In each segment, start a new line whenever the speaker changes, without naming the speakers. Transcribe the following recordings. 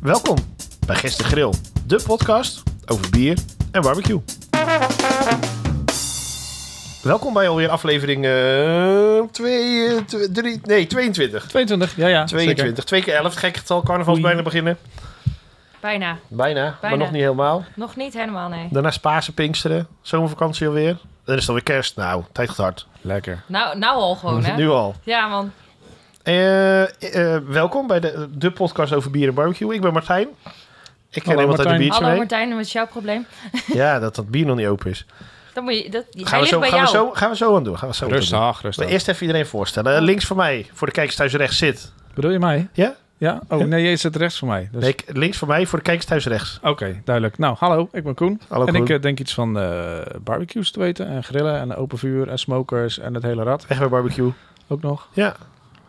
Welkom bij Gisteren Grill, de podcast over bier en barbecue. Welkom bij alweer aflevering eh, 2, nee, 22.
22, ja, ja.
22, twee keer 11, gek getal, carnaval is
Oei.
bijna beginnen.
Bijna.
Bijna, maar
Bijna.
nog niet helemaal.
Nog niet helemaal, nee.
Daarna Spaanse Pinksteren, zomervakantie alweer. Dan is het alweer kerst, nou, tijd gaat hard.
Lekker.
Nou, nou al gewoon, hè?
Nu al.
Ja, man.
Eh, eh, welkom bij de, de podcast over bier en barbecue. Ik ben Martijn. Ik ken
Hallo,
iemand uit de
Martijn.
biertje
Hallo
mee.
Martijn, wat is jouw probleem?
Ja, dat dat bier nog niet open is.
Dan moet je, dat, hij
Gaan we,
ligt
zo,
bij
gaan, we
jou. Oh.
zo, gaan we zo aan doen. Gaan we zo aan doen.
Rustig,
Maar
rustig.
eerst even iedereen voorstellen. Eh, links van mij, voor de kijkers thuis rechts zit.
Bedoel je mij?
Ja?
Ja? Oh, nee, je zit rechts van mij. Dus...
Nee, ik- links van mij, voor de kijkers thuis rechts.
Oké, duidelijk. Nou, hallo, ik ben Koen.
Hallo,
en
Koen.
ik eh, denk iets van eh, barbecues te weten en grillen en open vuur en smokers en het hele rad
Weg bij barbecue.
ook nog.
Ja.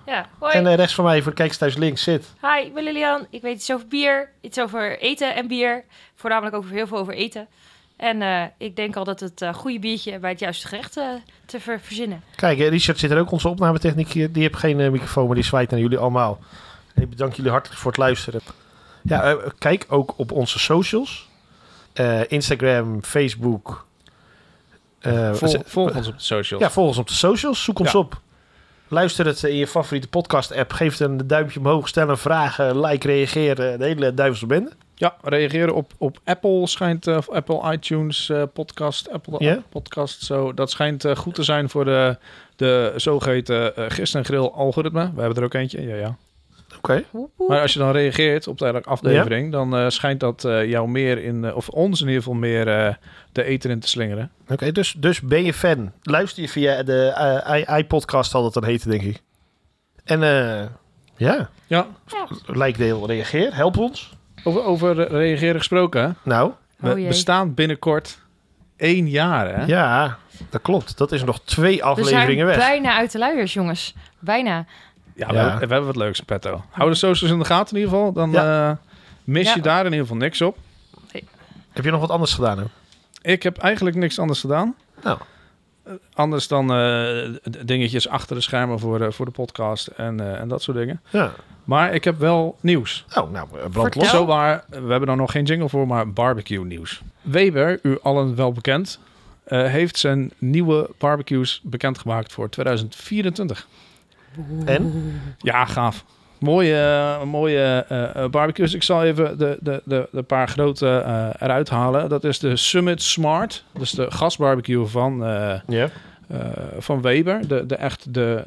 Ja, hoi.
En eh, rechts van mij, voor de kijkers thuis links zit.
Hi, ik ben Lilian. Ik weet iets over bier, iets over eten en bier. Voornamelijk ook heel veel over eten. En eh, ik denk al dat het eh, goede biertje bij het juiste gerecht eh, te ver- verzinnen.
Kijk, eh, Richard zit er ook, onze opnametechniek. hier. Die heeft geen eh, microfoon, maar die zwaait naar jullie allemaal. En ik bedank jullie hartelijk voor het luisteren. Ja, eh, kijk ook op onze socials. Eh, Instagram, Facebook. Eh,
Vol,
ze-
volg ons op de socials.
Ja, volg ons op de socials. Zoek ons
Ja.
op. Luister het in je favoriete podcast-app. Geef het een duimpje omhoog. Stel een vraag. eh, Like, reageer. eh, De hele duivelse bende.
Ja, reageren op, op Apple schijnt, eh, of Apple iTunes eh, podcast, Apple
Ja.
Apple podcast, zo. Dat schijnt eh, goed te zijn voor de, de zogeheten eh gist en grill algoritme. We hebben er ook eentje, ja, ja.
Oké.
Woep, woep.
Maar als je dan reageert op de aflevering, dan eh, schijnt dat eh, jou meer in, eh, of ons in ieder geval meer eh, de eten in te slingeren.
Oké, dus, dus ben je fan. Luister je via de eh, i iPodcast, zal dat dan heten, denk ik. En eh, ja,
Ja,
like, deel, reageer. Help ons.
over, over reageren gesproken. hè?
Nou,
We
Oh jee.
bestaan binnenkort één jaar, hè?
ja, dat klopt. Dat is nog twee
We zijn
afleveringen weg.
bijna uit de luiers, jongens. Bijna.
Ja,
Ja.
we, hebben- we hebben wat leuks in petto. Hou de socials in de gaten in ieder geval. Dan eh, mis
Ja.
je daar in ieder geval niks op.
Heb je nog wat anders gedaan? Hè?
Ik heb eigenlijk niks anders gedaan.
Nou.
Eh, Anders dan eh, d- dingetjes achter de schermen voor, eh, voor de podcast en, eh, en dat soort dingen.
Ja.
Maar ik heb wel nieuws.
Oh, nou, eh, brand los.
Vertel.
Zo waar, we hebben er nog geen jingle voor, maar barbecue nieuws. Weber, u allen wel bekend, eh, heeft zijn nieuwe barbecues bekendgemaakt voor 2024.
En?
Ja, gaaf. Mooie, eh, mooie eh, eh, barbecues. Ik zal even de, de, de, de paar grote eh, eruit halen. Dat is de Summit Smart. Dat is de gasbarbecue van, eh,
Ja.
eh, van Weber. De, de echt de,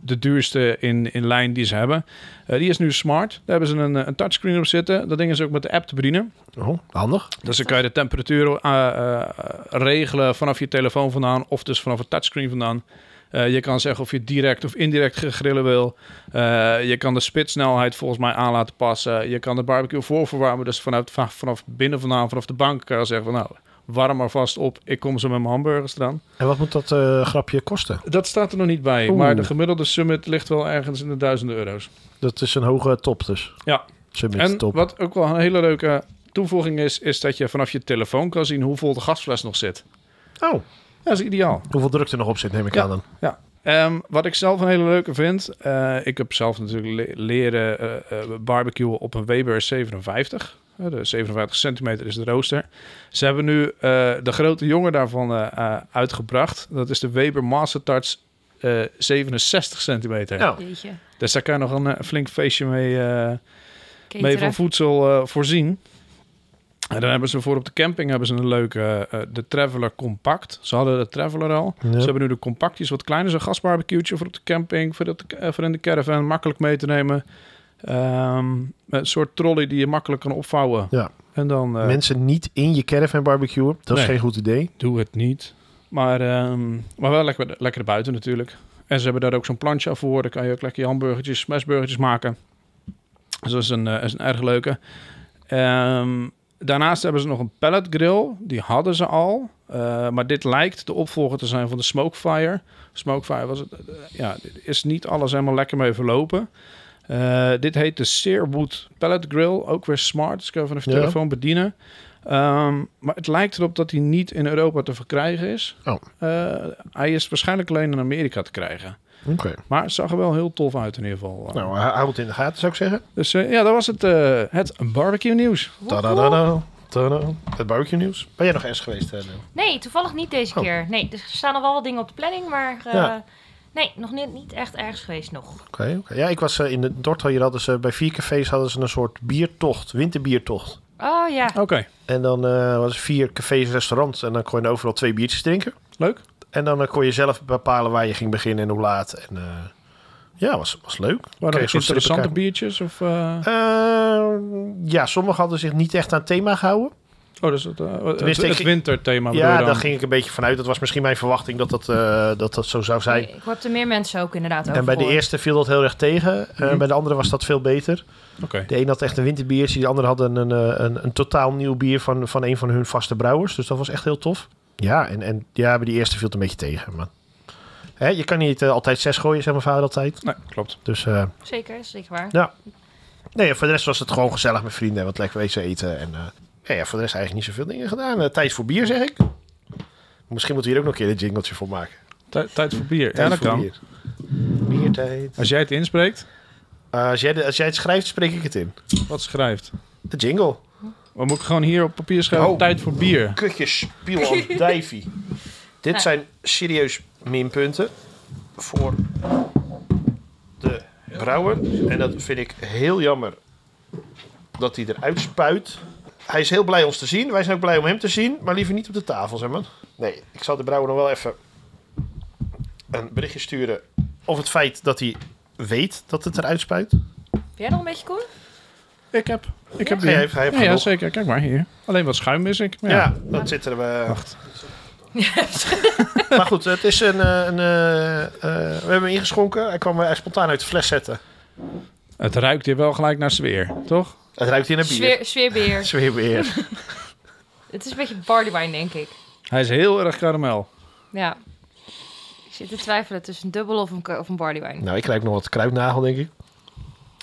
de duurste in, in lijn die ze hebben. Eh, die is nu smart. Daar hebben ze een, eh, een touchscreen op zitten. Dat ding is ook met de app te bedienen.
Oh, handig.
Dus dan kan je de temperatuur eh, eh, regelen vanaf je telefoon vandaan of dus vanaf het touchscreen vandaan. Eh, je kan zeggen of je direct of indirect gegrillen wil. Eh, je kan de spitsnelheid volgens mij aan laten passen. Je kan de barbecue voorverwarmen. Dus vanuit, va- vanaf binnen vandaan, vanaf de bank kan je zeggen van nou, warm maar vast op. Ik kom zo met mijn hamburgers eraan.
En wat moet dat eh, grapje kosten?
Dat staat er nog niet bij.
Oeh.
Maar de gemiddelde summit ligt wel ergens in de duizenden euro's.
Dat is een hoge top dus.
Ja.
Summit
En
top.
wat ook wel een hele leuke toevoeging is, is dat je vanaf je telefoon kan zien hoe vol de gasfles nog zit.
Oh,
Dat is ideaal.
hoeveel druk er nog op zit, neem ik aan dan.
Ehm, wat ik zelf een hele leuke vind, eh, ik heb zelf natuurlijk le- leren eh, eh, barbecuen op een Weber 57. Eh, de 57 centimeter is de rooster. Ze hebben nu eh, de grote jongen daarvan eh, eh, uitgebracht. Dat is de Weber Master Touch eh, 67 centimeter.
Nou,
Jeetje.
Dus daar kan je nog een eh, flink feestje mee, eh, mee
Cateren.
van voedsel eh, voorzien. En dan hebben ze voor op de camping hebben ze een leuke, eh, eh, de Traveler Compact. Ze hadden de Traveler al.
Ja.
Ze hebben nu de compactjes wat kleiner. Zo'n gasbarbecue'tje voor op de camping, voor, dat, eh, voor in de caravan. Makkelijk mee te nemen. Ehm, een soort trolley die je makkelijk kan opvouwen.
Ja.
En dan eh,
Mensen niet in je caravan barbecuen, dat is
Nee.
geen goed idee.
doe het niet. Maar, ehm, maar wel lekker, lekker buiten natuurlijk. En ze hebben daar ook zo'n plantje voor. Daar kan je ook lekker je hamburgertjes, smashburgertjes maken. Dus dat is een, eh, is een erg leuke. Ehm, daarnaast hebben ze nog een pellet grill. Die hadden ze al. Eh, maar dit lijkt de opvolger te zijn van de Smokefire. Smokefire was het. eh, ja, dit is niet alles helemaal lekker mee verlopen. Eh, dit heet de Searwood Pellet Grill. Ook weer smart. Dus kan je vanaf je
Ja.
telefoon bedienen. Ehm, maar het lijkt erop dat hij niet in Europa te verkrijgen is.
Oh.
Eh, hij is waarschijnlijk alleen in Amerika te krijgen.
Oké.
Maar het zag er wel heel tof uit in ieder geval. Eh,
Nou, hou het in de gaten, zou ik zeggen.
Dus eh, ja, dat was het, eh, het barbecue nieuws.
Tadadada. Tada. Het barbecue nieuws. Ben jij nog eens geweest, eh, Leo?
Nee, toevallig niet deze
Oh.
keer. Nee, dus er staan nog wel wat dingen op de planning, maar eh,
Ja.
nee, nog niet, niet echt ergens geweest nog.
Oké, oké. ja, ik was eh, in de Dortmund. Hier hadden ze bij vier cafés hadden ze een soort biertocht, winterbiertocht.
Oh ja,
Oké,
En dan eh was het vier cafés, restaurants en dan kon je overal twee biertjes drinken.
leuk.
En dan eh, kon je zelf bepalen waar je ging beginnen en hoe laat. En eh, ja, was, was leuk.
Waren
Kreeg
er
zo'n
interessante
strippenkaart.
biertjes? Of, eh,
Eh, ja, sommigen hadden zich niet echt aan het thema gehouden.
Oh, dus het, eh, het,
Tenminste, ik-
het winterthema bedoel je
ja,
dan?
daar ging ik een beetje vanuit. Dat was misschien mijn verwachting dat dat, eh, dat, dat zo zou zijn.
ik ik heb er meer mensen ook inderdaad over
En bij de
gehoord.
eerste viel dat heel erg tegen. Eh,
Mhm.
Bij de andere was dat veel beter.
Oké,
De een had echt een winterbiertje. De andere had een, een, eh, een, een totaal nieuw bier van, van een van hun vaste brouwers. Dus dat was echt heel tof. Ja, en, en ja, bij die eerste viel het een beetje tegen. Maar, hè, je kan niet eh, altijd zes gooien, zei mijn vader altijd.
nee, Nou, klopt.
Dus eh,
Zeker, is zeker waar.
nee, voor de rest was het gewoon gezellig met vrienden. en Wat lekker wezen eten. En eh, ja, ja, voor de rest eigenlijk niet zoveel dingen gedaan. Eh, tijd voor bier, zeg ik. Misschien moeten we hier ook nog een keer een jingletje voor maken.
Tij- tijd voor bier. ja,
Tijd
dat
voor
kan.
bier. Biertijd.
Als jij het inspreekt,
Eh, als, jij de- als jij het schrijft, spreek ik het in.
wat schrijft?
De jingle.
We moeten gewoon hier op papier schrijven.
Oh.
Tijd voor bier.
kutjes spiel aan Davy. Dit
Ja.
zijn serieus minpunten voor de brouwer. En dat vind ik heel jammer dat hij eruit spuit. Hij is heel blij ons te zien. Wij zijn ook blij om hem te zien. Maar liever niet op de tafel, zeg maar. Nee, ik zal de brouwer nog wel even een berichtje sturen. Of het feit dat hij weet dat het eruit spuit.
Ben jij nog een beetje cool?
Ik heb. Ik heb
Hij
bier.
heeft, hij heeft
Ja, ja,
genoeg.
zeker. Kijk maar hier. Alleen wat schuim mis ik. Maar
Ja,
ja.
dat zit er. eh,
Wacht.
Maar goed, het is een. eh, een eh, eh, we hebben hem ingeschonken. Hij kwam eh, spontaan uit de fles zetten.
Het ruikt hier wel gelijk naar sfeer, toch?
Het ruikt hier naar bier.
Sfeer, sfeerbeheer.
Sfeerbeheer.
het is een beetje barley wine, denk ik.
Hij is heel erg karamel.
Ja. Ik zit te twijfelen tussen een dubbel of een, ka- of een barley wine.
nou, ik ruik nog wat kruidnagel, denk ik.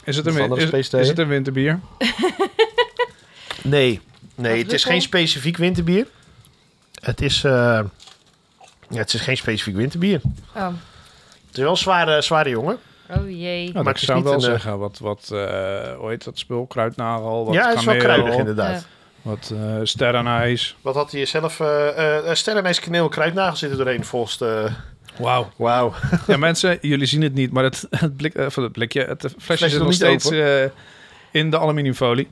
Is het
Of
een, win-
andere
is,
specerijen?
is het een winterbier?
Nee, nee
Wat
het is
druppel?
geen specifiek winterbier. Het is. eh, ja, het is geen specifiek winterbier.
Oh,
Het is wel een zware, zware jongen.
oh jee.
Nou,
Maar
maar
het
ik
is
zou
niet
wel
een, eh,
zeggen, wat, wat eh, hoe heet dat spul? Kruidnagel, wat
ja, het is wel
kaneel,
kruidig, inderdaad.
Wat eh sterrenijs.
Wat had hij zelf? eh eh eh, sterrenijs, kaneel, kruidnagel zitten doorheen, volgens de...
Wauw.
Wauw.
Ja, mensen, jullie zien het niet, maar het, het, blik, eh, van het blikje, het eh, flesje
Flesje
zit
nog
nog
niet
steeds eh, in de aluminiumfolie.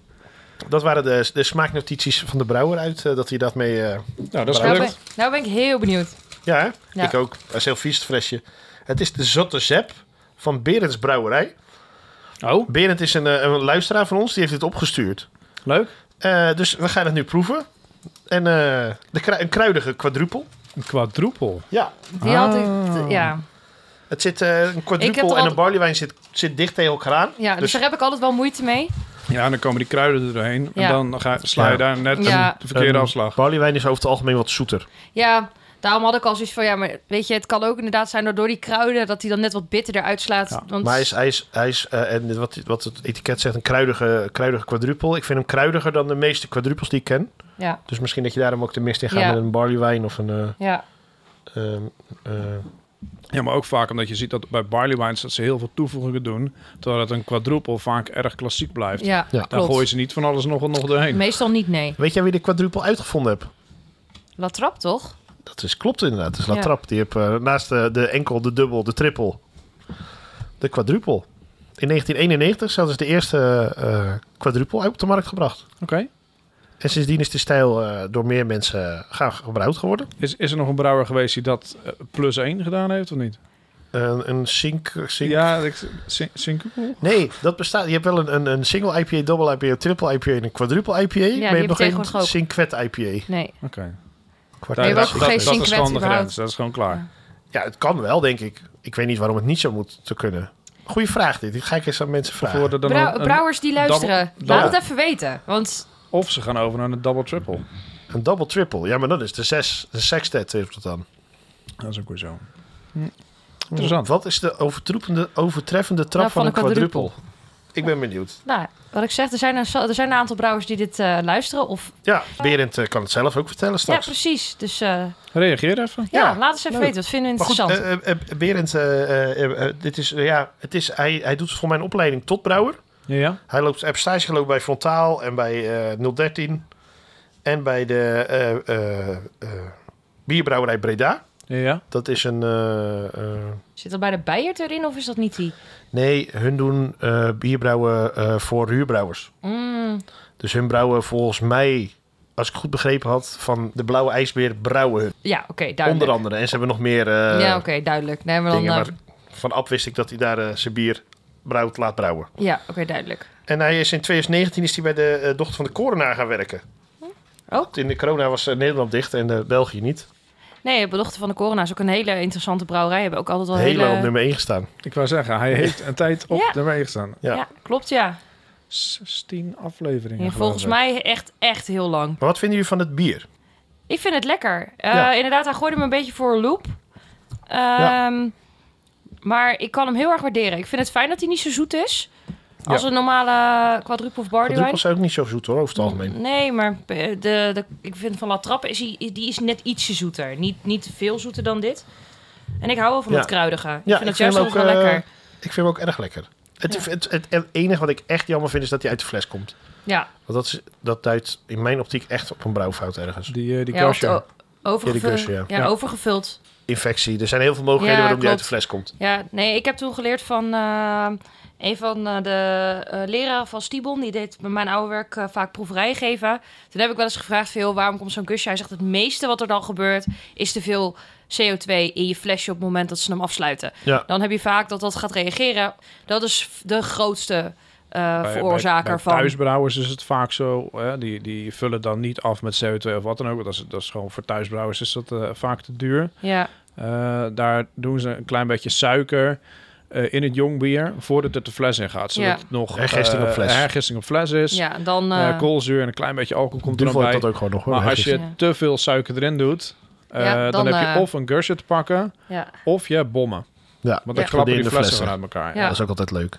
Dat waren de, de smaaknotities van de brouwer uit, eh, dat hij dat mee... eh,
Nou, dat is
Nou ben,
gelukt.
nou ben ik heel benieuwd.
Ja, hè?
Ja.
ik ook. Dat is heel vies, het flesje. Het is de Zotte Zep van Berends Brouwerij.
Oh,
Berend is een, eh, een luisteraar van ons, die heeft dit opgestuurd.
leuk.
Eh, dus we gaan het nu proeven. En eh, de kru- een kruidige kwadrupel.
Een kwadroepel.
Ja,
Die had ik,
Ah.
t- ja.
het zit, eh, een
Ik heb
kwadrupel
er
en
al-
een barleywijn zit, zit dicht tegen elkaar aan.
ja dus,
Dus-
daar heb ik altijd wel moeite mee.
Ja, en dan komen die kruiden er doorheen.
Ja.
En dan ga, sla
Ja.
je
Ehm.
daar net
Ja.
een de verkeerde
Een
afslag.
Barleywijn is over het algemeen wat zoeter.
Ja, daarom had ik al zoiets van, ja, maar weet je, het kan ook inderdaad zijn door, door die kruiden dat hij dan net wat bitter eruit slaat.
Ja,
want,
Maar hij is, hij is, hij is eh, en wat, wat het etiket zegt, een kruidige, kruidige kwadrupel. Ik vind hem kruidiger dan de meeste kwadrupels die ik ken.
ja,
Dus misschien dat je daarom ook de mist in gaat
Ja.
met een barleywijn of een... eh,
ja.
ehm, eh,
Ja, maar ook vaak omdat je ziet dat bij barley wines dat ze heel veel toevoegingen doen. Terwijl het een kwadroepel vaak erg klassiek blijft.
Ja,
Ja.
Daar
klopt.
gooien ze niet van alles nog en nog doorheen.
Meestal niet, nee.
Weet jij wie de quadruple uitgevonden hebt?
Latrap, toch?
Dat is, klopt inderdaad. Dat is
Ja.
Latrap. Die heeft eh, naast de, de enkel, de dubbel, de triple. De quadruple. In 1991 zelfs is de eerste eh quadruple op de markt gebracht.
Oké.
En sindsdien is de stijl eh, door meer mensen eh, gaan gebruikt geworden.
Is, is er nog een brouwer geweest die dat eh, plus één gedaan heeft of niet?
Een een sink... sink-
Ja, ik, Sin- Sinkapoel?
Nee, dat bestaat. Je hebt wel een, een, een single IPA, double IPA, triple IPA en een quadruple IPA. maar je
die
hebt
heb
nog
ik
geen
tegenwoordig ook.
Sinquet IPA.
Nee.
Oké.
Kwartier-
Nee,
Daar-
maar ook
dat
geen
is
Sinkwet
gewoon de
überhaupt.
grens. Dat is gewoon klaar.
Ja, het kan wel, denk ik. Ik weet niet waarom het niet zo moet te kunnen. Goeie vraag dit. Die ga ik eens aan mensen
Of,
vragen.
worden dan
Brou-
een- een-
brouwers die
double-
luisteren,
double-
laat het even weten. Want
of ze gaan over naar een double triple.
Een double triple. Ja, maar dat is de zes. De sextet heeft dat dan.
Dat is ook weer zo. Hm. Interessant.
Wat is de overtroepende, overtreffende trap
Nou,
van,
van
een
een
quadruple? Ik ben benieuwd.
Nou, wat ik zeg, er zijn een, er zijn een aantal brouwers die dit eh, luisteren. Of,
Ja, Berend eh, kan het zelf ook vertellen
ja,
straks.
precies. Dus eh,
Reageer even.
ja,
Ja,
laat eens even
leuk.
weten. Wat vinden we
maar goed,
interessant?
eh, eh, eh, Berend, eh, eh, eh, eh, dit is, eh, ja, het is, hij, hij doet voor mijn opleiding tot brouwer.
Ja, ja.
Hij loopt hij heeft stage gelopen bij Frontaal en bij eh 013 en bij de eh, eh, eh, bierbrouwerij Breda.
ja, ja.
Dat is een... eh, eh,
Zit er bij de Beiert erin of is dat niet die?
nee, hun doen eh, bierbrouwen eh, voor huurbrouwers.
Mm,
Dus hun brouwen volgens mij, als ik goed begrepen had, van de blauwe ijsbeer brouwen hun.
ja, oké, duidelijk.
Onder andere. En ze hebben nog meer eh,
ja, oké, duidelijk. Nee, maar dan,
dingen.
eh,
Maar van Ab wist ik dat hij daar eh, zijn bier brouwt, laat brouwen.
Ja, oké, duidelijk.
En hij is in 2019 is hij bij de eh, dochter van de korenaar gaan werken.
Oh.
In de corona was eh, Nederland dicht en eh, België niet.
Nee, de dochter van de Corona is ook een hele interessante brouwerij. Hebben ook altijd wel hele...
Helo op nummer 1 gestaan.
Ik wou zeggen, hij heeft een tijd op
Ja.
de weg gestaan.
ja.
ja. klopt, ja.
16 afleveringen.
En volgens
geloof ik.
mij echt, echt heel lang.
Maar wat vinden jullie van het bier?
Ik vind het lekker. Eh,
Ja.
Inderdaad, hij gooide me een beetje voor een loop. Ehm, Maar ik kan hem heel erg waarderen. Ik vind het fijn dat hij niet zo zoet is. Als een normale quadruple of bar
Dat
wine.
was ook niet zo zoet hoor, over het algemeen.
Nee, maar eh, de, de, ik vind van La Trappe is, die die is net ietsje zoeter. Niet, niet veel zoeter dan dit. En ik hou wel van
Ja.
het kruidige. ik
Ja,
vind het
ik vind
juist
hem
ook
ook,
wel
eh,
lekker.
Ik vind hem ook erg lekker. Het,
Ja.
het, het, het enige wat ik echt jammer vind is dat hij uit de fles komt.
Ja,
Want dat, is, dat duidt in mijn optiek echt op een brouwfout ergens.
Die, eh, die
ja, of
Krasja.
de o- overgevul-
Ja, die Krasja,
ja,
ja.
overgevuld.
Infectie. Er zijn heel veel mogelijkheden
Ja,
waarom die uit de
klopt.
fles komt.
Ja, nee, ik heb toen geleerd van eh, een van eh, de eh, leraren van Stiebon. Die deed bij mijn oude werk eh, vaak proeverijen geven. Toen heb ik wel eens gevraagd, veel, waarom komt zo'n kusje? Hij zegt, het meeste wat er dan gebeurt, is te veel CO2 in je flesje op het moment dat ze hem afsluiten.
Ja.
Dan heb je vaak dat dat gaat reageren. Dat is f- de grootste eh,
Bij- bij-
veroorzaker
bij
van...
Thuisbrouwers is het vaak zo. Hè? Die, die vullen dan niet af met CO2 of wat dan ook. Dat is, dat is gewoon voor thuisbrouwers is dat eh, vaak te duur.
Ja,
Eh, daar doen ze een klein beetje suiker eh, in het jongbier voordat het de fles in gaat. Zodat
Ja.
het nog
Hergisting op
eh,
fles.
hergisting op fles is.
ja dan...
Eh,
eh,
koolzuur en een klein beetje alcohol komt er
Duvel
dan
heeft
bij.
dat ook gewoon nog hoor.
Maar als
Herkens.
je
Ja.
te veel suiker erin doet, eh, dan,
Ja, dan,
heb je
eh,
of een gursje te pakken
ja.
of je hebt
Ja,
bommen. Want
Ja.
dan klappen
Explodeerende
die flessen
flessen.
vanuit elkaar.
Ja.
dat is ook altijd leuk.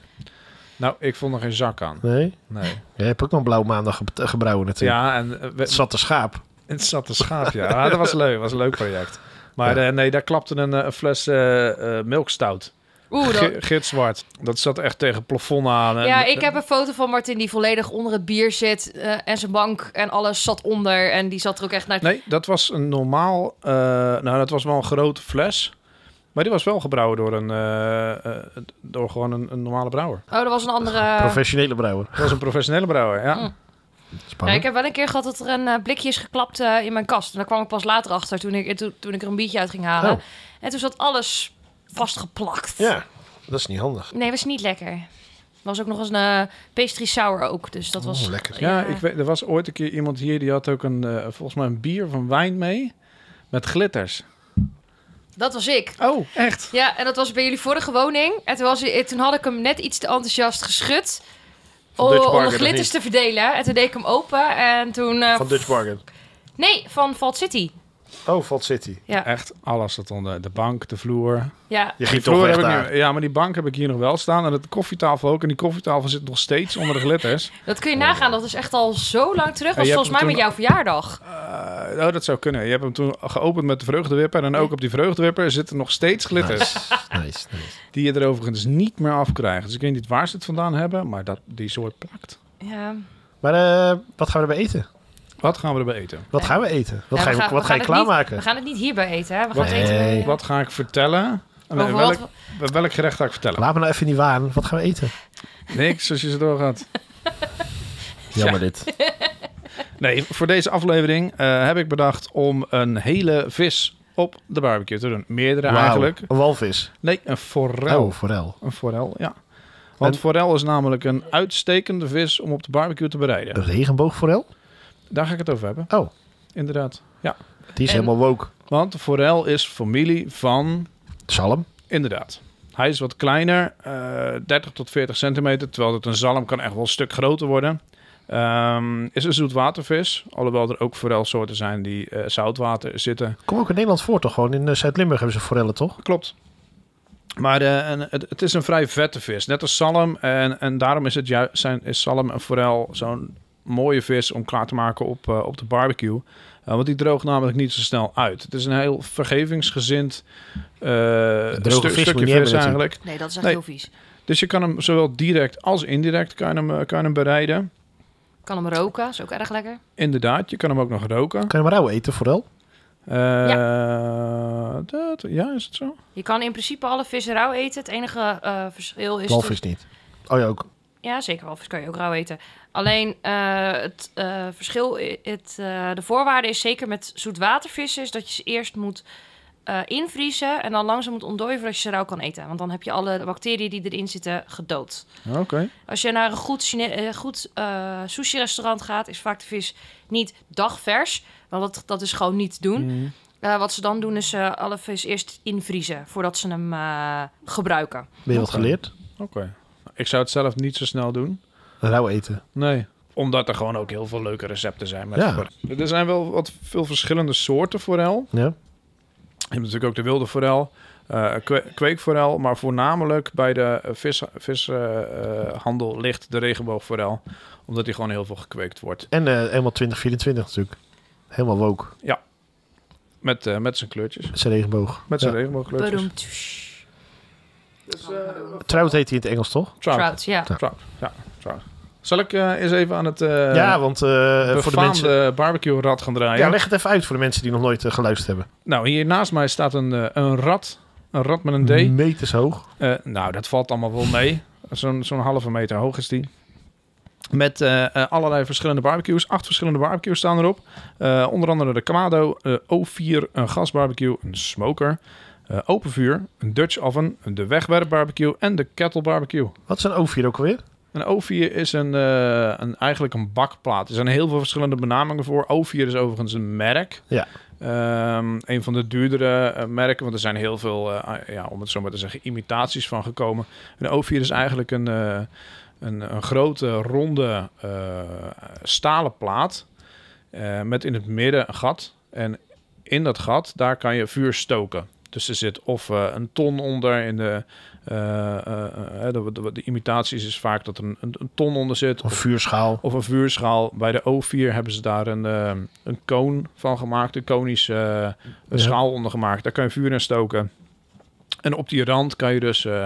Nou, ik vond er geen zak aan.
Nee?
Nee.
Jij hebt ook nog Blauw Maandag ge- gebrouwen natuurlijk.
Ja, en eh, we-
Het zat te schaap.
Het zat een schaap, ja. Ah, dat was leuk. Dat was een leuk project. Maar eh, nee, daar klapte een, eh, een fles eh eh milkstout.
Oeh, dat...
Ge- Gitzwart. Dat zat echt tegen het plafond aan. En
Ja, ik heb een foto van Martin die volledig onder het bier zit. eh, en zijn bank en alles zat onder. En die zat er ook echt naar...
Nee, dat was een normaal... eh, nou, dat was wel een grote fles. Maar die was wel gebrouwen door, een, eh, eh, door gewoon een, een normale brouwer.
Oh, dat was een andere...
Professionele brouwer.
Dat was een professionele brouwer, ja.
Mm. Ja, ik
Spannend.
heb wel een keer gehad dat er een eh, blikje is geklapt eh, in mijn kast. En daar kwam ik pas later achter toen ik, eh, toen, toen ik er een biertje uit ging halen.
Oh.
En toen zat alles vastgeplakt.
Ja, dat is niet handig.
Nee, was niet lekker. Er was ook nog eens een eh, pastry sour ook. Dus dat
Oh,
was...
lekker.
Ja, Ik weet, er was ooit een keer iemand hier... die had ook een, eh, volgens mij een bier van wijn mee... met glitters.
Dat was ik.
Oh, echt?
Ja, en dat was bij jullie vorige woning. En toen, was, hij- eh, toen had ik hem net iets te enthousiast geschud.
Van
Om,
Dutch
om de
Bargain, of
glitters
niet?
te verdelen. En toen deed ik hem open. En toen... eh,
Van Dutch Bargain.
Nee, van Vault City.
Oh, Vault City.
Ja,
Echt, alles zat onder. De bank, de vloer...
ja.
Je ging
Die
toch
vloer
weg
heb ik
daar.
nu- ja, maar die bank heb ik hier nog wel staan. En de koffietafel ook. En die koffietafel zit nog steeds onder de glitters.
dat
Oh.
kun je nagaan. Dat is echt al zo lang terug.
En
was
je hebt
volgens mij
hem
met
toen-
jouw verjaardag.
Eh, oh, dat zou kunnen. Je hebt hem toen geopend met de vreugdewipper. En ook op die vreugdewipper zitten nog steeds glitters.
Nice, nice, nice.
Die je er overigens niet meer afkrijgt. Dus ik weet niet waar ze het vandaan hebben. Maar dat, die soort plakt.
Ja.
Maar eh, wat gaan we erbij eten?
Wat gaan we erbij eten?
Wat gaan we eten? Wat
Ja,
ga je,
we gaan-
wat
we
ga je
gaan het niet-
klaarmaken?
We gaan het niet hierbij eten, hè? We gaan
Wat-
het eten bij-
Nee.
Wat ga ik vertellen? En
Over
welk,
Oh, wat-
welk gerecht ga ik vertellen?
Laat me nou even in die waan. Wat gaan we eten?
Niks, als je ze doorgaat.
Jammer dit.
Nee, voor deze aflevering eh, heb ik bedacht om een hele vis op de barbecue te doen. Meerdere
Wauw,
eigenlijk.
Een walvis.
Nee, een forel.
Oh, forel.
Een forel, ja. Want
En-
forel is namelijk een uitstekende vis om op de barbecue te bereiden.
Een regenboogforel?
Daar ga ik het over hebben.
Oh.
Inderdaad.
Die is
En-
helemaal woke.
Want de forel is familie van...
Zalm?
Inderdaad. Hij is wat kleiner, eh, 30 tot 40 centimeter, terwijl het een zalm kan echt wel een stuk groter worden. Ehm, is een zoetwatervis, alhoewel er ook forelsoorten zijn die eh, zoutwater zitten.
Kom ook in Nederland voor toch? Gewoon in eh, Zuid-Limburg hebben ze forellen toch?
Klopt. Maar eh, en het, het is een vrij vette vis, net als zalm. En, en daarom is, het juist, zijn, is zalm en forel zo'n mooie vis om klaar te maken op, eh, op de barbecue. Eh, want die droogt namelijk niet zo snel uit. Het is een heel vergevingsgezind eh, stu-
vis moet je
stukje
niet
vis
hebben
eigenlijk.
Nee, dat is echt
Nee.
heel vies.
Dus je kan hem zowel direct als indirect kan je hem, eh, kan je hem bereiden.
Kan hem roken, is ook erg lekker.
Inderdaad, je kan hem ook nog roken.
Kan je maar rauw eten, vooral.
Eh, dat, ja, is het zo?
Je kan in principe alle vis rauw eten. Het enige eh, verschil is...
Walvis niet. Oh ja, ook.
Ja, zeker walvis kan je ook rauw eten. Alleen eh, het eh, verschil, i- het, eh, de voorwaarde is zeker met zoetwatervissen... is dat je ze eerst moet eh, invriezen en dan langzaam moet ontdooien... voordat je ze rauw kan eten. Want dan heb je alle bacteriën die erin zitten gedood.
Oké.
Als je naar een goed, Chine- eh, goed eh, sushi-restaurant gaat, is vaak de vis niet dagvers. Want dat, dat is gewoon niet te doen.
Mhm.
Eh, wat ze dan doen, is eh, alle vis eerst invriezen voordat ze hem eh, gebruiken.
Ben je wat
Oké.
geleerd?
Oké. Ik zou het zelf niet zo snel doen.
Rauw eten.
Nee. Omdat er gewoon ook heel veel leuke recepten zijn. Met
Ja.
forel. Er zijn wel wat veel verschillende soorten forel.
Ja.
Je hebt natuurlijk ook de wilde forel, eh, kwe- kweekforel, maar voornamelijk bij de eh, vishandel eh, ligt de regenboogforel, omdat die gewoon heel veel gekweekt wordt.
En eh helemaal 2024 natuurlijk. Helemaal woke.
Met, eh, met zijn kleurtjes,
Met zijn regenboog.
met zijn
Ja.
regenboogkleurtjes.
Badum, tsh.
Trouwens heet hij in het Engels, toch?
Trout.
Trout, ja.
Trout, ja, trout. Zal ik eh, eens even aan het eh
ja, want eh, voor de mensen...
barbecue rad gaan draaien?
Ja, leg het even uit voor de mensen die nog nooit eh, geluisterd hebben.
Nou, hier naast mij staat een, eh, een rat, een rat met een D.
Meters hoog.
Eh, nou, dat valt allemaal wel mee. Zo'n zo'n halve meter hoog is die. Met eh, eh, allerlei verschillende barbecues. Acht verschillende barbecues staan erop. Eh, onder andere de Kamado, eh, O4, een gasbarbecue, een smoker, eh, open vuur, een Dutch oven, de wegwerpbarbecue en de kettle barbecue.
Wat is een oven hier ook alweer?
Een O4 is een, eh, een, eigenlijk een bakplaat. Er zijn heel veel verschillende benamingen voor. O4 is overigens een merk.
Ja.
Ehm, een van de duurdere eh, merken, want er zijn heel veel, eh, ah, ja, om het zo maar te zeggen, imitaties van gekomen. Een O4 is eigenlijk een, eh, een, een grote, ronde eh, stalen plaat eh, met in het midden een gat. En in dat gat, daar kan je vuur stoken. Dus er zit of eh, een ton onder in de, eh, eh, eh, de, de, de imitaties is vaak dat er een, een, een ton onder zit.
Een vuurschaal.
Of een vuurschaal. Bij de O4 hebben ze daar een, ehm, een koon van gemaakt. Een konische eh, een
Ja.
schaal onder gemaakt. Daar kan je vuur in stoken. En op die rand kan je dus eh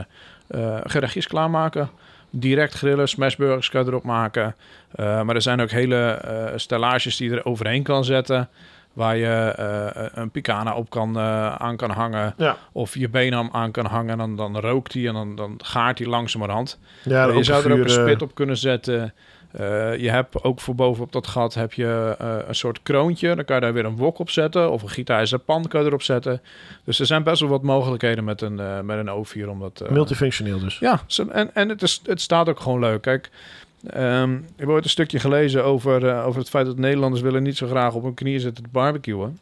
eh, gerechtjes klaarmaken. Direct grillen, smashburgers kan je erop maken. Eh, maar er zijn ook hele eh stellages die je er overheen kan zetten. Waar je eh, een picana op kan, eh, aan kan hangen.
Ja.
Of je benam aan kan hangen. En dan, dan rookt die en dan, dan gaart die langzamerhand.
Ja,
Eh, je zou er ook een
vuur, eh,
spit op kunnen zetten. Eh, je hebt ook voor bovenop dat gat heb je eh, een soort kroontje. Dan kan je daar weer een wok op zetten. Of een gietijzeren pan kan je erop zetten. Dus er zijn best wel wat mogelijkheden met een, eh, met een O4. Om dat, eh,
Multifunctioneel dus.
ja, ze- en, en het, is, het staat ook gewoon leuk. Kijk, ehm, ik heb ooit een stukje gelezen over, eh, over het feit dat Nederlanders willen niet zo graag op hun knieën zitten te barbecuen.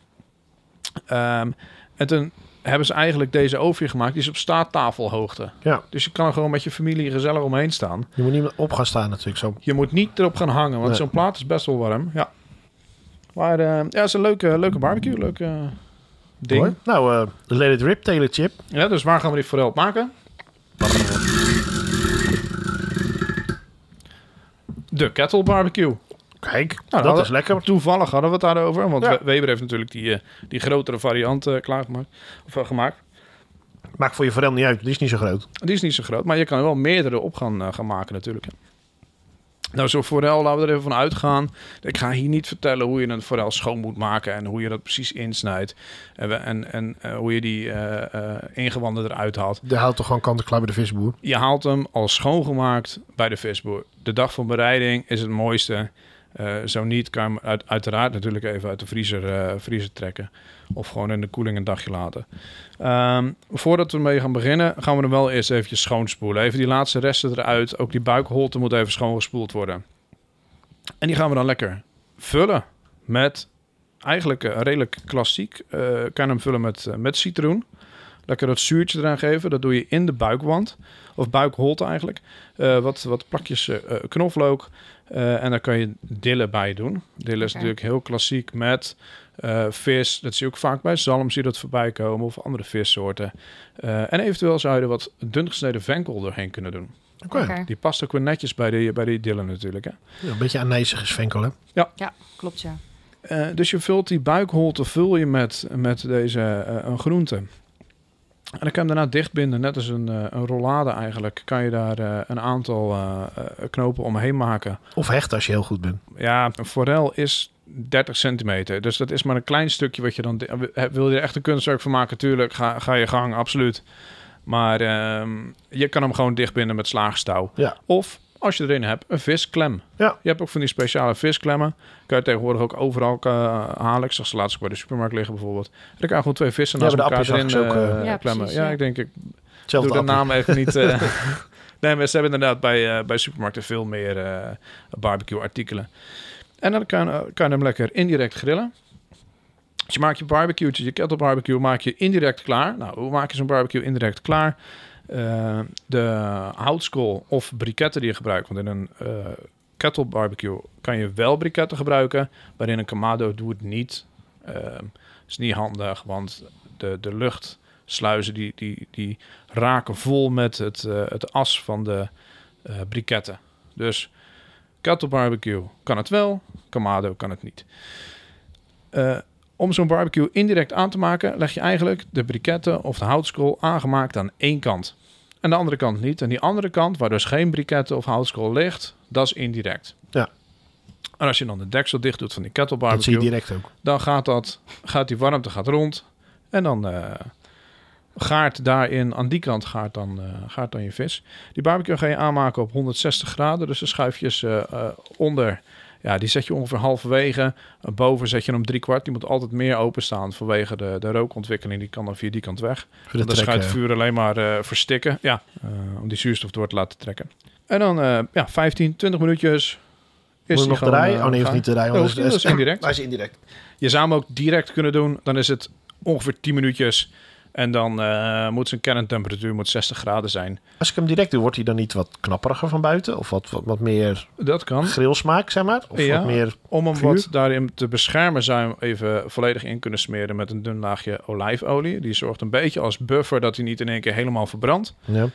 Ehm, en toen hebben ze eigenlijk deze oven gemaakt. Die is op staattafelhoogte.
Ja.
Dus je kan er gewoon met je familie gezellig omheen staan.
Je moet niet meer op gaan staan natuurlijk. Zo.
Je moet niet erop gaan hangen, want
Nee.
zo'n plaat is best wel warm. Ja. Maar eh, ja, het is een leuke, leuke barbecue, leuke eh, ding.
Hoor. Nou, eh let it rip, Taylor Chip.
Ja, dus waar gaan we dit forel op maken? De kettle barbecue.
Kijk,
Nou,
dat
nou,
is lekker.
Toevallig hadden we het daarover, want
Ja.
We- Weber heeft natuurlijk die, eh, die grotere variant eh, klaargemaakt. Of eh, gemaakt.
Maakt voor je verhaal niet uit, die is niet zo groot.
Die is niet zo groot, maar je kan er wel meerdere op gaan, eh, gaan maken natuurlijk. hè. Nou, zo'n forel, laten we er even van uitgaan. Ik ga hier niet vertellen hoe je een forel schoon moet maken en hoe je dat precies insnijdt. En, we- en, en eh, hoe je die eh, eh, ingewanden eruit haalt.
Daar houdt toch gewoon kant en klaar bij de visboer.
Je haalt hem al schoongemaakt bij de visboer. De dag van bereiding is het mooiste. Eh, zo niet kan je hem uit- uiteraard natuurlijk even uit de vriezer, eh, vriezer trekken. Of gewoon in de koeling een dagje laten. Ehm, voordat we mee gaan beginnen, gaan we hem wel eerst eventjes schoonspoelen. Even die laatste resten eruit. Ook die buikholte moet even schoongespoeld worden. En die gaan we dan lekker vullen met eigenlijk eh, redelijk klassiek. Eh, kan je hem vullen met, eh, met citroen. Lekker dat zuurtje eraan geven. Dat doe je in de buikwand. Of buikholte eigenlijk. Eh, wat, wat plakjes eh, eh, knoflook. Eh, en daar kan je dillen bij doen. Dillen is
Oké.
natuurlijk heel klassiek met eh, vis. Dat zie je ook vaak bij zalm, zie je dat voorbij komen. Of andere vissoorten. Eh, en eventueel zou je er wat dun gesneden venkel doorheen kunnen doen.
Oké.
Oké,
Die past ook weer netjes bij die, bij die dillen natuurlijk. Hè?
Ja, een beetje aanijzig is venkel, hè?
klopt ja.
Eh, dus je vult die buikholte vul je met, met deze eh, een groente. En dan kan je hem daarna dichtbinden, net als een, eh, een rollade eigenlijk. Kan je daar eh, een aantal eh, eh, knopen omheen maken.
Of hecht als je heel goed bent.
Ja, een forel is 30 centimeter. Dus dat is maar een klein stukje wat je dan... di- eh, Wil je er echt een kunstwerk van maken? Tuurlijk, ga, ga je gang, absoluut. Maar ehm, je kan hem gewoon dichtbinden met slaagstouw.
Ja.
Of, als je erin hebt, een visklem.
Ja.
Je hebt ook van die speciale visklemmen. Kan je tegenwoordig ook overal eh, halen. Ik zag ze laatst ook bij de supermarkt liggen bijvoorbeeld. En dan kan je gewoon twee vissen
Ja,
naast
bij de
elkaar
appel
erin
zag ik ze ook,
eh,
eh, Ja,
klemmen.
precies,
ja,
ja.
ik denk, ik
Hetzelfde
doe de
appel.
naam even niet. eh. nee, maar ze hebben inderdaad bij, eh, bij supermarkten veel meer eh, barbecue-artikelen. En dan kan, eh, kan je hem lekker indirect grillen. Dus je maakt je barbecue, je kettlebarbecue, maak je indirect klaar. Nou, hoe maak je zo'n barbecue indirect klaar? Eh, de houtskool of briketten die je gebruikt. Want in een eh kettlebarbecue kan je wel briketten gebruiken. Maar in een kamado doe het niet. Ehm is niet handig, want de, de luchtsluizen die, die, die raken vol met het, eh, het as van de eh, briketten. Dus kettle barbecue kan het wel, kamado kan het niet. Eh, om zo'n barbecue indirect aan te maken, leg je eigenlijk de briketten of de houtskool aangemaakt aan één kant. En de andere kant niet. En die andere kant, waar dus geen briketten of houtskool ligt, dat is indirect.
Ja.
En als je dan de deksel dicht doet van die kettle
Dat zie je
nou barbecue,
direct ook.
dan gaat, dat, gaat die warmte gaat rond. En dan eh, gaart daarin, aan die kant gaart dan, eh, gaart dan je vis. Die barbecue ga je aanmaken op 160 graden. Dus de schuifjes eh, eh, onder, ja, die zet je ongeveer halverwege. En boven zet je hem drie kwart. Die moet altijd meer openstaan vanwege de, de rookontwikkeling. Die kan dan via die kant weg.
Voor de
Want dan
trek,
gaat
eh,
het vuur alleen maar eh, verstikken. Ja, eh, om die zuurstof door te laten trekken. En dan eh, ja, 15, 20 minuutjes.
Moet je
die
nog
gewoon,
draaien?
eh,
Oh nee, hoeft
gaar.
niet te draaien.
Dat
want
hoeft niet, dat is indirect.
Hij is indirect.
Je zou hem ook direct kunnen doen. Dan is het ongeveer 10 minuutjes. En dan eh, moet zijn kerntemperatuur moet 60 graden zijn.
Als ik hem direct doe, wordt hij dan niet wat knapperiger van buiten? Of wat, wat, wat meer
Dat kan.
grillsmaak, zeg maar? Of
Ja.
wat meer...
Om hem
Vuur?
wat daarin te beschermen zou je hem even volledig in kunnen smeren met een dun laagje olijfolie. Die zorgt een beetje als buffer dat hij niet in één keer helemaal verbrandt.
Ja.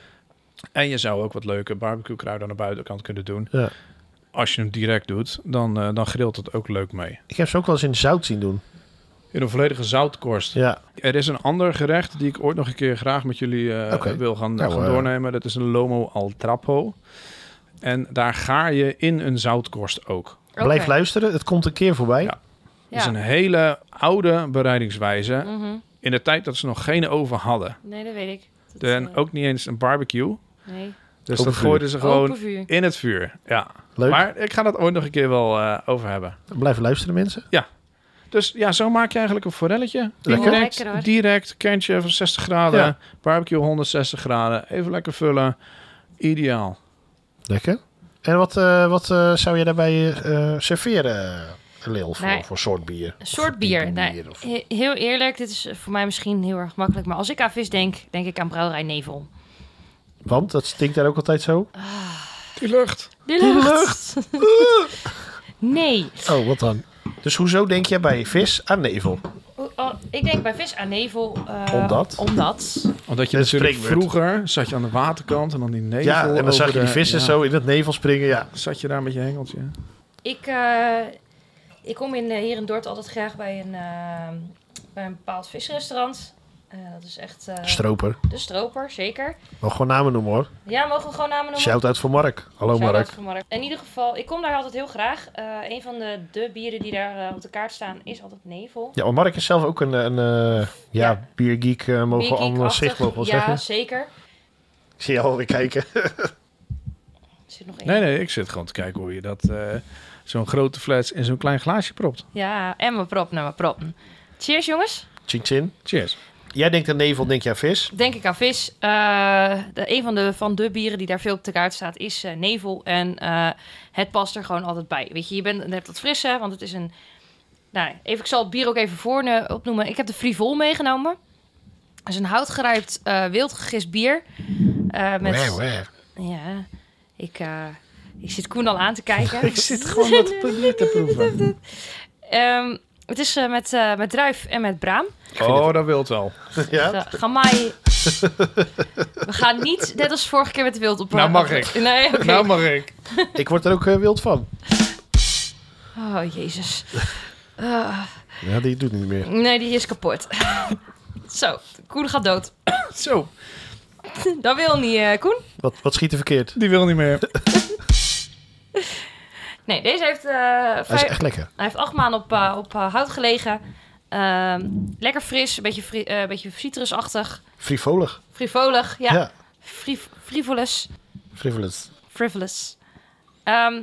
En je zou ook wat leuke barbecue kruiden aan de buitenkant kunnen doen.
Ja.
Als je hem direct doet, dan, eh, dan grilt het ook leuk mee.
Ik heb ze ook wel eens in zout zien doen.
In een volledige zoutkorst.
Ja.
Er is een ander gerecht die ik ooit nog een keer graag met jullie eh,
Oké.
wil gaan,
Nou,
gaan
eh.
doornemen. Dat is een lomo al trapo. En daar ga je in een zoutkorst ook.
Blijf
Oké.
luisteren. Het komt een keer voorbij.
Ja. Dat is
Ja.
een hele oude bereidingswijze.
Mhm.
In de tijd dat ze nog geen oven hadden.
Nee, dat weet ik. Dat,
En
eh,
oh.
ook niet eens een barbecue.
nee.
Dus
Open
dat
vuur.
gooiden ze gewoon
Open vuur.
in het vuur. Ja.
Leuk.
Maar ik ga dat ooit nog een keer wel eh, over hebben.
Blijf luisteren, mensen.
Dus ja, zo maak je eigenlijk een forelletje.
Lekker.
Direct,
Lekker, hoor.
direct kerntje van 60 graden.
Ja.
Barbecue 160 graden. Even lekker vullen. Ideaal.
Lekker. En wat, eh, wat eh, zou je daarbij eh, eh, serveren, Leel, voor,
Nee.
voor soort bier?
Een
Of
soort
voor
bier.
type
Nee,
of-
he- heel eerlijk, dit is voor mij misschien heel erg makkelijk. Maar als ik aan vis denk, denk ik aan brouwerij Nevel.
Want dat stinkt daar ook altijd zo.
Die lucht.
De lucht! nee.
Oh, wat dan? Dus hoezo denk jij bij vis aan nevel?
O- o- ik denk bij vis aan Nevel... eh,
Omdat?
Omdat.
Omdat je
Dat is
natuurlijk
spreekwoord.
vroeger zat je aan de waterkant en dan die nevel.
ja, en
over
dan zag je die
de-
vissen
ja.
zo in het nevel springen. Ja,
Zat je daar met je hengeltje?
Ik, eh, ik kom in, eh, hier in Dordt altijd graag bij een, eh, bij een bepaald visrestaurant. Eh, dat is echt eh,
stroper.
de stroper, zeker.
Mag gewoon namen noemen hoor.
Ja, mogen we gewoon namen noemen?
Shout-out voor Mark. Hallo
Shout-out
Mark.
voor Mark. In ieder geval, ik kom daar altijd heel graag. Eh, een van de, de bieren die daar eh, op de kaart staan is altijd Nevel.
Ja, maar Mark is zelf ook een, een eh, ja,
Ja.
biergeek, eh, mogen we allemaal
Biergeek-achtig.
zich mogen we
Ja,
zeggen.
zeker.
Ik zie je alweer kijken.
Er zit nog één.
Nee, nee, ik zit gewoon te kijken hoe je dat eh, zo'n grote fles in zo'n klein glaasje propt.
Ja, en mijn prop, nou mijn prop. Cheers jongens.
Chin chin.
Cheers.
Jij denkt aan nevel, denk jij aan vis.
Denk ik aan vis. Eh, de, een van de, van de bieren die daar veel op de kaart staat is eh, Nevel. En eh, het past er gewoon altijd bij. Weet je, je bent net wat frisse, want het is een... Nou, even, ik zal het bier ook even voor eh, opnoemen. Ik heb de frivol meegenomen. Dat is een houtgerijpt eh wild gegist bier. Eh, met,
Wauw, wauw.
Ja, ik, eh, Ik zit Koen al aan te kijken.
Ik zit gewoon wat paneer te proeven.
Ehm, het is eh, met, eh, met druif en met braam.
Oh, dat wil het wel.
Ja?
Dus, eh, gamai. We gaan niet, net als vorige keer met de wild op.
Nou mag
op-
ik.
Nee, oké.
Nou mag ik.
Ik word er ook eh, wild van.
Oh, jezus. Ah,
Ja, die doet niet meer.
nee, die is kapot. Zo, Koen gaat dood.
Zo,
Dat wil niet, eh, Koen.
Wat, wat schiet er verkeerd?
die wil niet meer.
Nee, deze heeft, eh,
Hij is
vijf-
echt lekker.
hij heeft acht maanden op, eh, op eh, hout gelegen. Ehm, lekker fris, een beetje, fri- eh, een beetje citrusachtig.
Frivolig.
Frivolig, ja.
Ja.
ja. frivolous.
frivolous.
Frivolous. Ehm,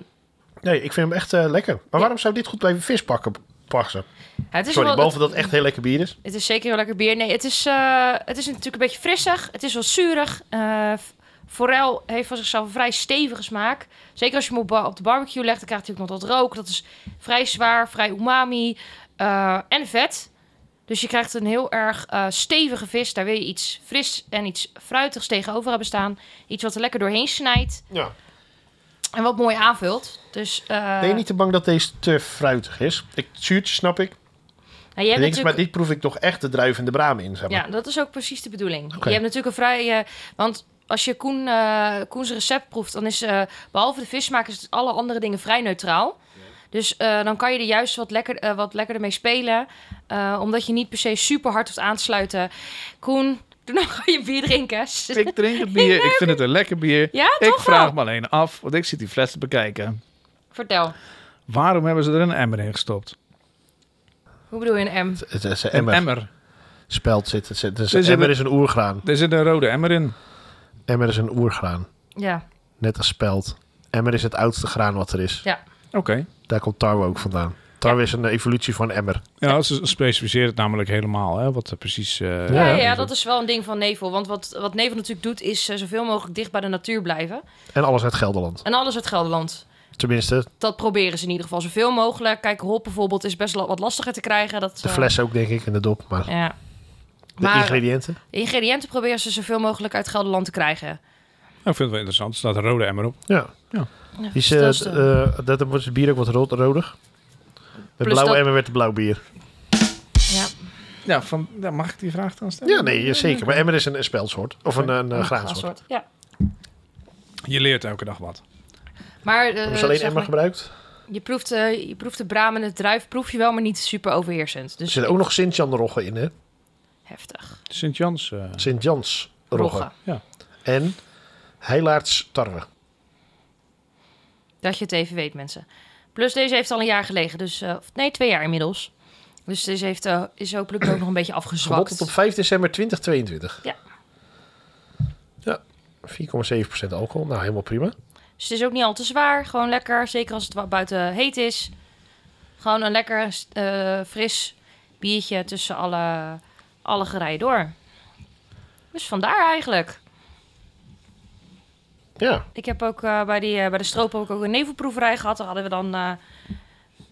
Nee, ik vind hem echt eh, lekker. Maar waarom zou dit goed bij vis pakken passen?
ja, het, is
Sorry,
wel,
behalve
het,
dat het echt heel lekker bier is.
het is zeker heel lekker bier. Nee, het is, eh, het is natuurlijk een beetje frissig. Het is wel zuurig. Eh, forel heeft van zichzelf een vrij stevige smaak. Zeker als je hem op, ba- op de barbecue legt, dan krijgt hij ook nog dat rook. Dat is vrij zwaar, vrij umami eh, en vet. Dus je krijgt een heel erg eh, stevige vis. Daar wil je iets fris en iets fruitigs tegenover hebben staan. Iets wat er lekker doorheen snijdt
Ja.
en wat mooi aanvult. Dus, eh,
Ben je niet te bang dat deze te fruitig is? Ik, het zuurtje snap ik.
nou, je
Ik
hebt
denk,
natuurlijk-
Maar dit proef ik toch echt de druif en de braam in. Zeg maar.
Ja, dat is ook precies de bedoeling.
Oké.
Je hebt natuurlijk een vrij... eh, want als je Koen, eh, Koens recept proeft, dan is eh, behalve de vissmaak... is het alle andere dingen vrij neutraal. Dus eh, dan kan je er juist wat, lekker, eh, wat lekkerder mee spelen. eh, omdat je niet per se super hard hoeft aan te sluiten. Koen, doe nou gewoon je bier drinken.
Ik drink het bier. Ik vind het een lekker bier.
Ja,
ik
toch
vraag
wel?
me alleen af, want ik zit die fles te bekijken.
Vertel,
Waarom hebben ze er een emmer in gestopt?
hoe bedoel je een M?
Het is een
Een
emmer.
emmer.
Speld zit. Het zit dus
Dus
emmer
hebben-
is een oergraan.
Er zit een rode emmer in.
Emmer is een oergraan.
Ja,
Net als speld. Emmer is het oudste graan wat er is.
Oké.
Daar komt tarwe ook vandaan. Tarwe is een evolutie van emmer.
Ja, ze specificeert het namelijk helemaal, hè, wat er precies... eh,
Ja,
ja, ja, dat is wel een ding van Nevel. Want wat, wat Nevel natuurlijk doet, is eh, zoveel mogelijk dicht bij de natuur blijven.
En alles uit Gelderland.
En alles uit Gelderland.
Tenminste,
dat proberen ze in ieder geval zoveel mogelijk. Kijk, hop bijvoorbeeld is best la- wat lastiger te krijgen. Dat,
de
eh,
fles ook denk ik en de dop. Maar
Ja.
de
Maar de
ingrediënten.
ingrediënten proberen ze zoveel mogelijk uit Gelderland te krijgen.
Ik vind het wel interessant. Er staat een rode emmer op.
Ja.
Ja,
Die is,
dus
eh,
dat is, eh,
eh, dat wordt het bier ook wat rood, rodig. Met
Plus
blauwe
dat-
emmer werd het blauw bier.
ja.
Ja, van, ja, mag ik die vraag dan stellen?
Ja, nee, zeker. Maar emmer is een, een speldsoort. Of een, een, eh, graansoort.
Graansoort, Ja.
Je leert elke dag wat.
Maar eh,
Hebben ze alleen
zeg
emmer
maar,
gebruikt?
je, proeft, eh, je proeft de braam en het druif, proef je wel, maar niet super overheersend.
Er
Dus
zit ook nog Sint-Jan-roggen in, hè?
heftig.
Sint-Jans. eh,
Sint-Jans-roggen.
Roggen.
En Heilaards tarwe.
Dat je het even weet, mensen. Plus deze heeft al een jaar gelegen. Dus, eh, of nee, twee jaar inmiddels. Dus deze heeft, eh, is hopelijk ook nog een beetje
Gebotteld
afgezwakt.
op 5 december 2022.
Ja.
Ja, 4,7% alcohol. Nou, helemaal prima.
Dus het is ook niet al te zwaar. Gewoon lekker, zeker als het wa- buiten heet is. Gewoon een lekker eh, fris biertje tussen alle, alle gerijen door. Dus vandaar eigenlijk.
Ja,
Ik heb ook eh, bij, die, eh, bij de stroop heb ik ook een nevelproeverij gehad. Daar hadden we dan eh,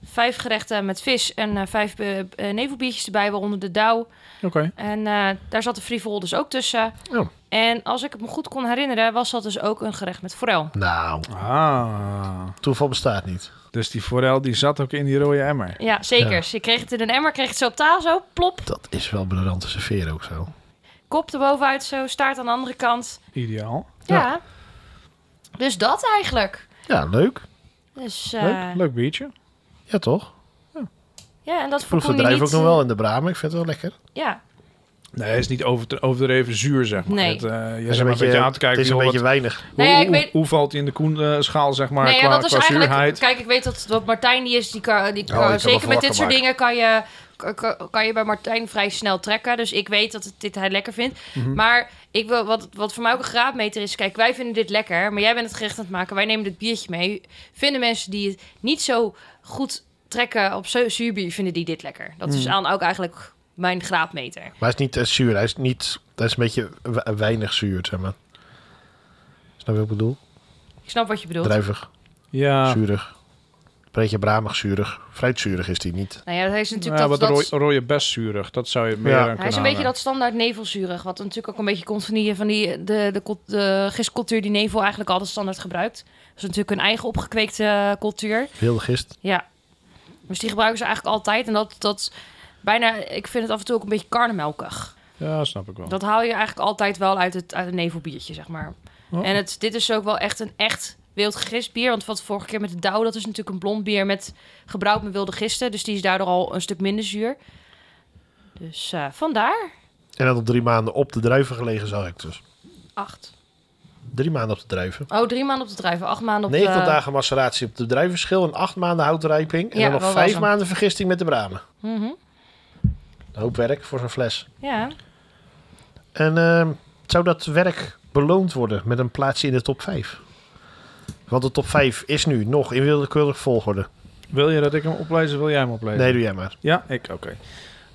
vijf gerechten met vis en eh, vijf eh, eh, nevelbiertjes erbij, waaronder de dauw.
Oké.
En eh, daar zat de frivol dus ook tussen.
Ja.
En als ik het me goed kon herinneren, was dat dus ook een gerecht met forel.
nou,
Ah.
toeval bestaat niet.
Dus die forel die zat ook in die rode emmer.
Ja, zeker.
Ja.
Je kreeg het in een emmer, kreeg het zo op tafel, zo plop.
Dat is wel briljant te serveren ook zo.
Kop erbovenuit, zo staart aan de andere kant.
Ideaal.
Ja.
Ja.
Dus dat eigenlijk.
Ja, leuk.
Dus eh,
Leuk, leuk biertje.
Ja, toch?
ja, en dat
Proef de
voorkom je
drijf
niet.
ook nog wel in de bramen. Ik vind het wel lekker.
Ja,
Nee, hij is niet over, overdreven zuur, zeg maar.
Nee.
Het, eh, je
Het
zit maar een beetje aan te kijken.
het is een
joh,
beetje
wat-
weinig.
Nee,
hoe,
Nou ik weet-
hoe, hoe valt hij in de koenschaal, zeg maar,
nee, ja,
qua,
dat is
qua
eigenlijk.
zuurheid?
Kijk, ik weet dat, dat Martijn die is. Die kan, die
Oh,
kan,
je kan wel
zeker met dit soort
wakker
dingen kan je, kan- kan, kan je bij Martijn vrij snel trekken. Dus ik weet dat het, dit hij lekker vindt. Maar ik wil, wat, wat voor mij ook een graadmeter is. Kijk, wij vinden dit lekker. Maar jij bent het gerecht aan het maken. Wij nemen dit biertje mee. Vinden mensen die het niet zo goed trekken op zu- zuurbier, vinden die dit lekker. Dat is aan ook eigenlijk mijn graadmeter.
Maar het is niet eh, zuur. Hij is niet... Hij is een beetje we- weinig zuur, zeg maar. Snap je wat ik bedoel?
Ik snap wat je bedoelt.
Druivig,
Ja,
zuurig. Beetje bramig zuurig. Fruitzuurig is die niet.
Nou ja, hij is natuurlijk
ja,
dat...
wat
dat-
rooie- rooie bestzuurig. Dat zou je meer
Ja.
aan
Hij
hij
kunnen
is een beetje
hangen.
dat standaard nevelzuurig, wat natuurlijk ook een beetje komt van die, van die de, de, cult- de gistcultuur die nevel eigenlijk altijd standaard gebruikt. Dat is natuurlijk hun eigen opgekweekte eh, cultuur.
Wilde gist.
Ja. Dus die gebruiken ze eigenlijk altijd. En dat, dat bijna, ik vind het af en toe ook een beetje karnemelkig.
Ja, snap ik wel.
Dat haal je eigenlijk altijd wel uit het, uit het nevelbiertje, zeg maar.
Oh.
En het, dit is ook wel echt een echt wild gistbier. Want wat vorige keer met de Douw, dat is natuurlijk een blond bier met gebrouwd met wilde gisten. Dus die is daardoor al een stuk minder zuur. Dus eh, vandaar.
En dat op drie maanden op de druiven gelegen zag ik dus.
Acht.
Drie maanden op de druiven.
Oh, drie maanden op de druiven, acht maanden op
90
eh,
de...
dagen maceratie op de druivenschil en 8 maanden houtrijping. En
Ja,
dan nog
wel
5
wasem.
maanden vergisting met de bramen.
Mhm.
Een hoop werk voor zo'n fles.
Ja.
En ehm, zou dat werk beloond worden met een plaatsje in de top 5? Want de top 5 is nu nog in willekeurig volgorde.
Wil je dat ik hem oplees of wil jij hem oplezen?
Nee, doe jij maar.
Ja, ik, oké.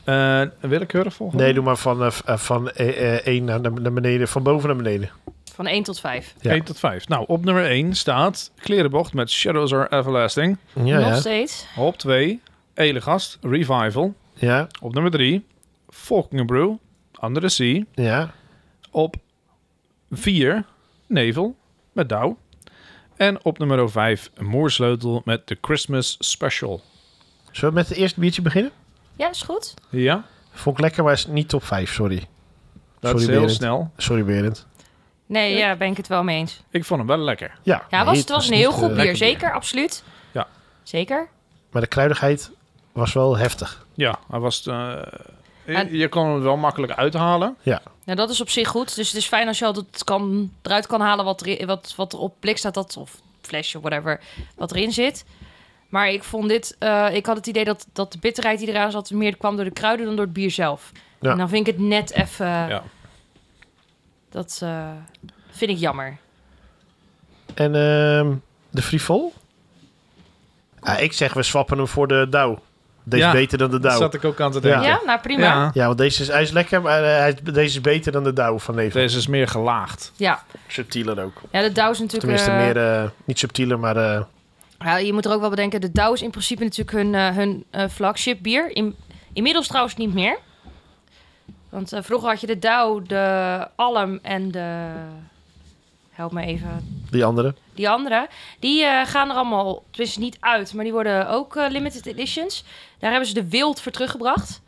Eh, willekeurig volgen?
Nee, doe maar van 1 van, eh, eh, één naar, de- naar beneden, van boven naar beneden.
Van één tot vijf.
Ja.
1 tot 5. Nou, op nummer 1 staat Klerenbocht met Shadows Are Everlasting.
Ja,
Nog
ja.
steeds.
Op 2, Elegast, Revival.
Ja,
Op nummer 3, Brew, Under the Sea.
ja.
Op 4, Nevel met Douw. En op nummer 5, Moersleutel met de Christmas Special.
Zullen we met het eerste biertje beginnen?
Ja, is goed.
Ja,
Vond ik lekker, maar is niet top 5, sorry.
dat
Sorry,
is heel
Berend.
snel.
Sorry, Berend.
Nee, ja, ben ik het wel mee eens.
Ik vond hem wel lekker.
Ja,
Ja,
nee,
was, het was een heel
niet,
goed
eh,
bier.
lekker bier.
Zeker, absoluut.
Ja.
Zeker.
Maar de kruidigheid was wel heftig.
Ja, hij was... eh, je-
En-
je kon hem wel makkelijk uithalen.
Nou, dat is op zich goed. Dus het is fijn als je al dat kan, eruit kan halen wat, er, wat, wat er op blik staat, dat, of flesje, whatever, wat erin zit. Maar ik vond dit, eh, ik had het idee dat, dat de bitterheid die eraan zat, meer kwam door de kruiden dan door het bier zelf.
Ja.
En dan vind ik het net even,
Ja.
dat eh, vind ik jammer.
En ehm, de frivol? Ah, ik zeg, we swappen hem voor de douw. Deze
Ja,
is beter dan de
Dat
douw.
zat ik ook aan te
Ja.
Ja,
denken.
nou prima. Ja.
Ja, want deze is, hij is lekker, maar eh, hij is, deze is beter dan de douw van Nevel.
Deze is meer gelaagd.
Ja.
Subtieler ook.
de douw is natuurlijk...
Tenminste,
eh,
meer, eh, niet subtieler, maar eh,
Ja, je moet er ook wel bedenken, de Douw is in principe natuurlijk hun, eh, hun eh, flagship bier. In, inmiddels trouwens niet meer. Want eh, vroeger had je de Douw, de Alm en de... Help me even.
die andere.
Die andere. Die eh, gaan er allemaal, tenminste niet uit, maar die worden ook eh, limited editions. Daar hebben ze de Wild voor teruggebracht.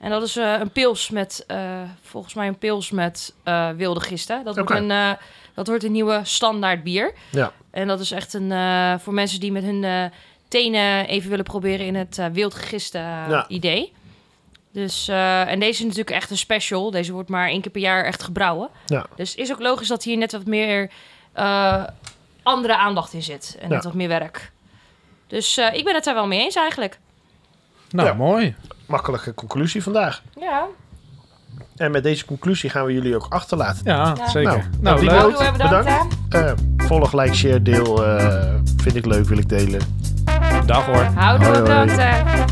En dat is eh, een pils met, eh, volgens mij een pils met eh, wilde gisten. Dat,
Oké.
wordt een, eh, dat wordt een nieuwe standaard bier.
Ja,
En dat is echt een, eh, voor mensen die met hun eh, tenen even willen proberen in het eh, wild gegiste eh,
Ja.
idee. Dus, eh, en deze is natuurlijk echt een special. Deze wordt maar één keer per jaar echt gebrouwen.
Ja.
Dus het is ook logisch dat hier net wat meer eh, andere aandacht in zit. En
Ja.
net wat meer werk. Dus eh, ik ben het daar wel mee eens eigenlijk.
Nou,
Ja.
mooi.
makkelijke conclusie vandaag.
Ja,
En met deze conclusie gaan we jullie ook achterlaten.
Ja,
Ja.
zeker.
Nou,
Nou,
op die
leuk.
noot,
Houdoe, bedankt,
Eh, volg, like, share, deel. eh, vind ik leuk, wil ik delen.
Dag hoor.
houden
Hoi,
we
hoi.
bedankt. eh.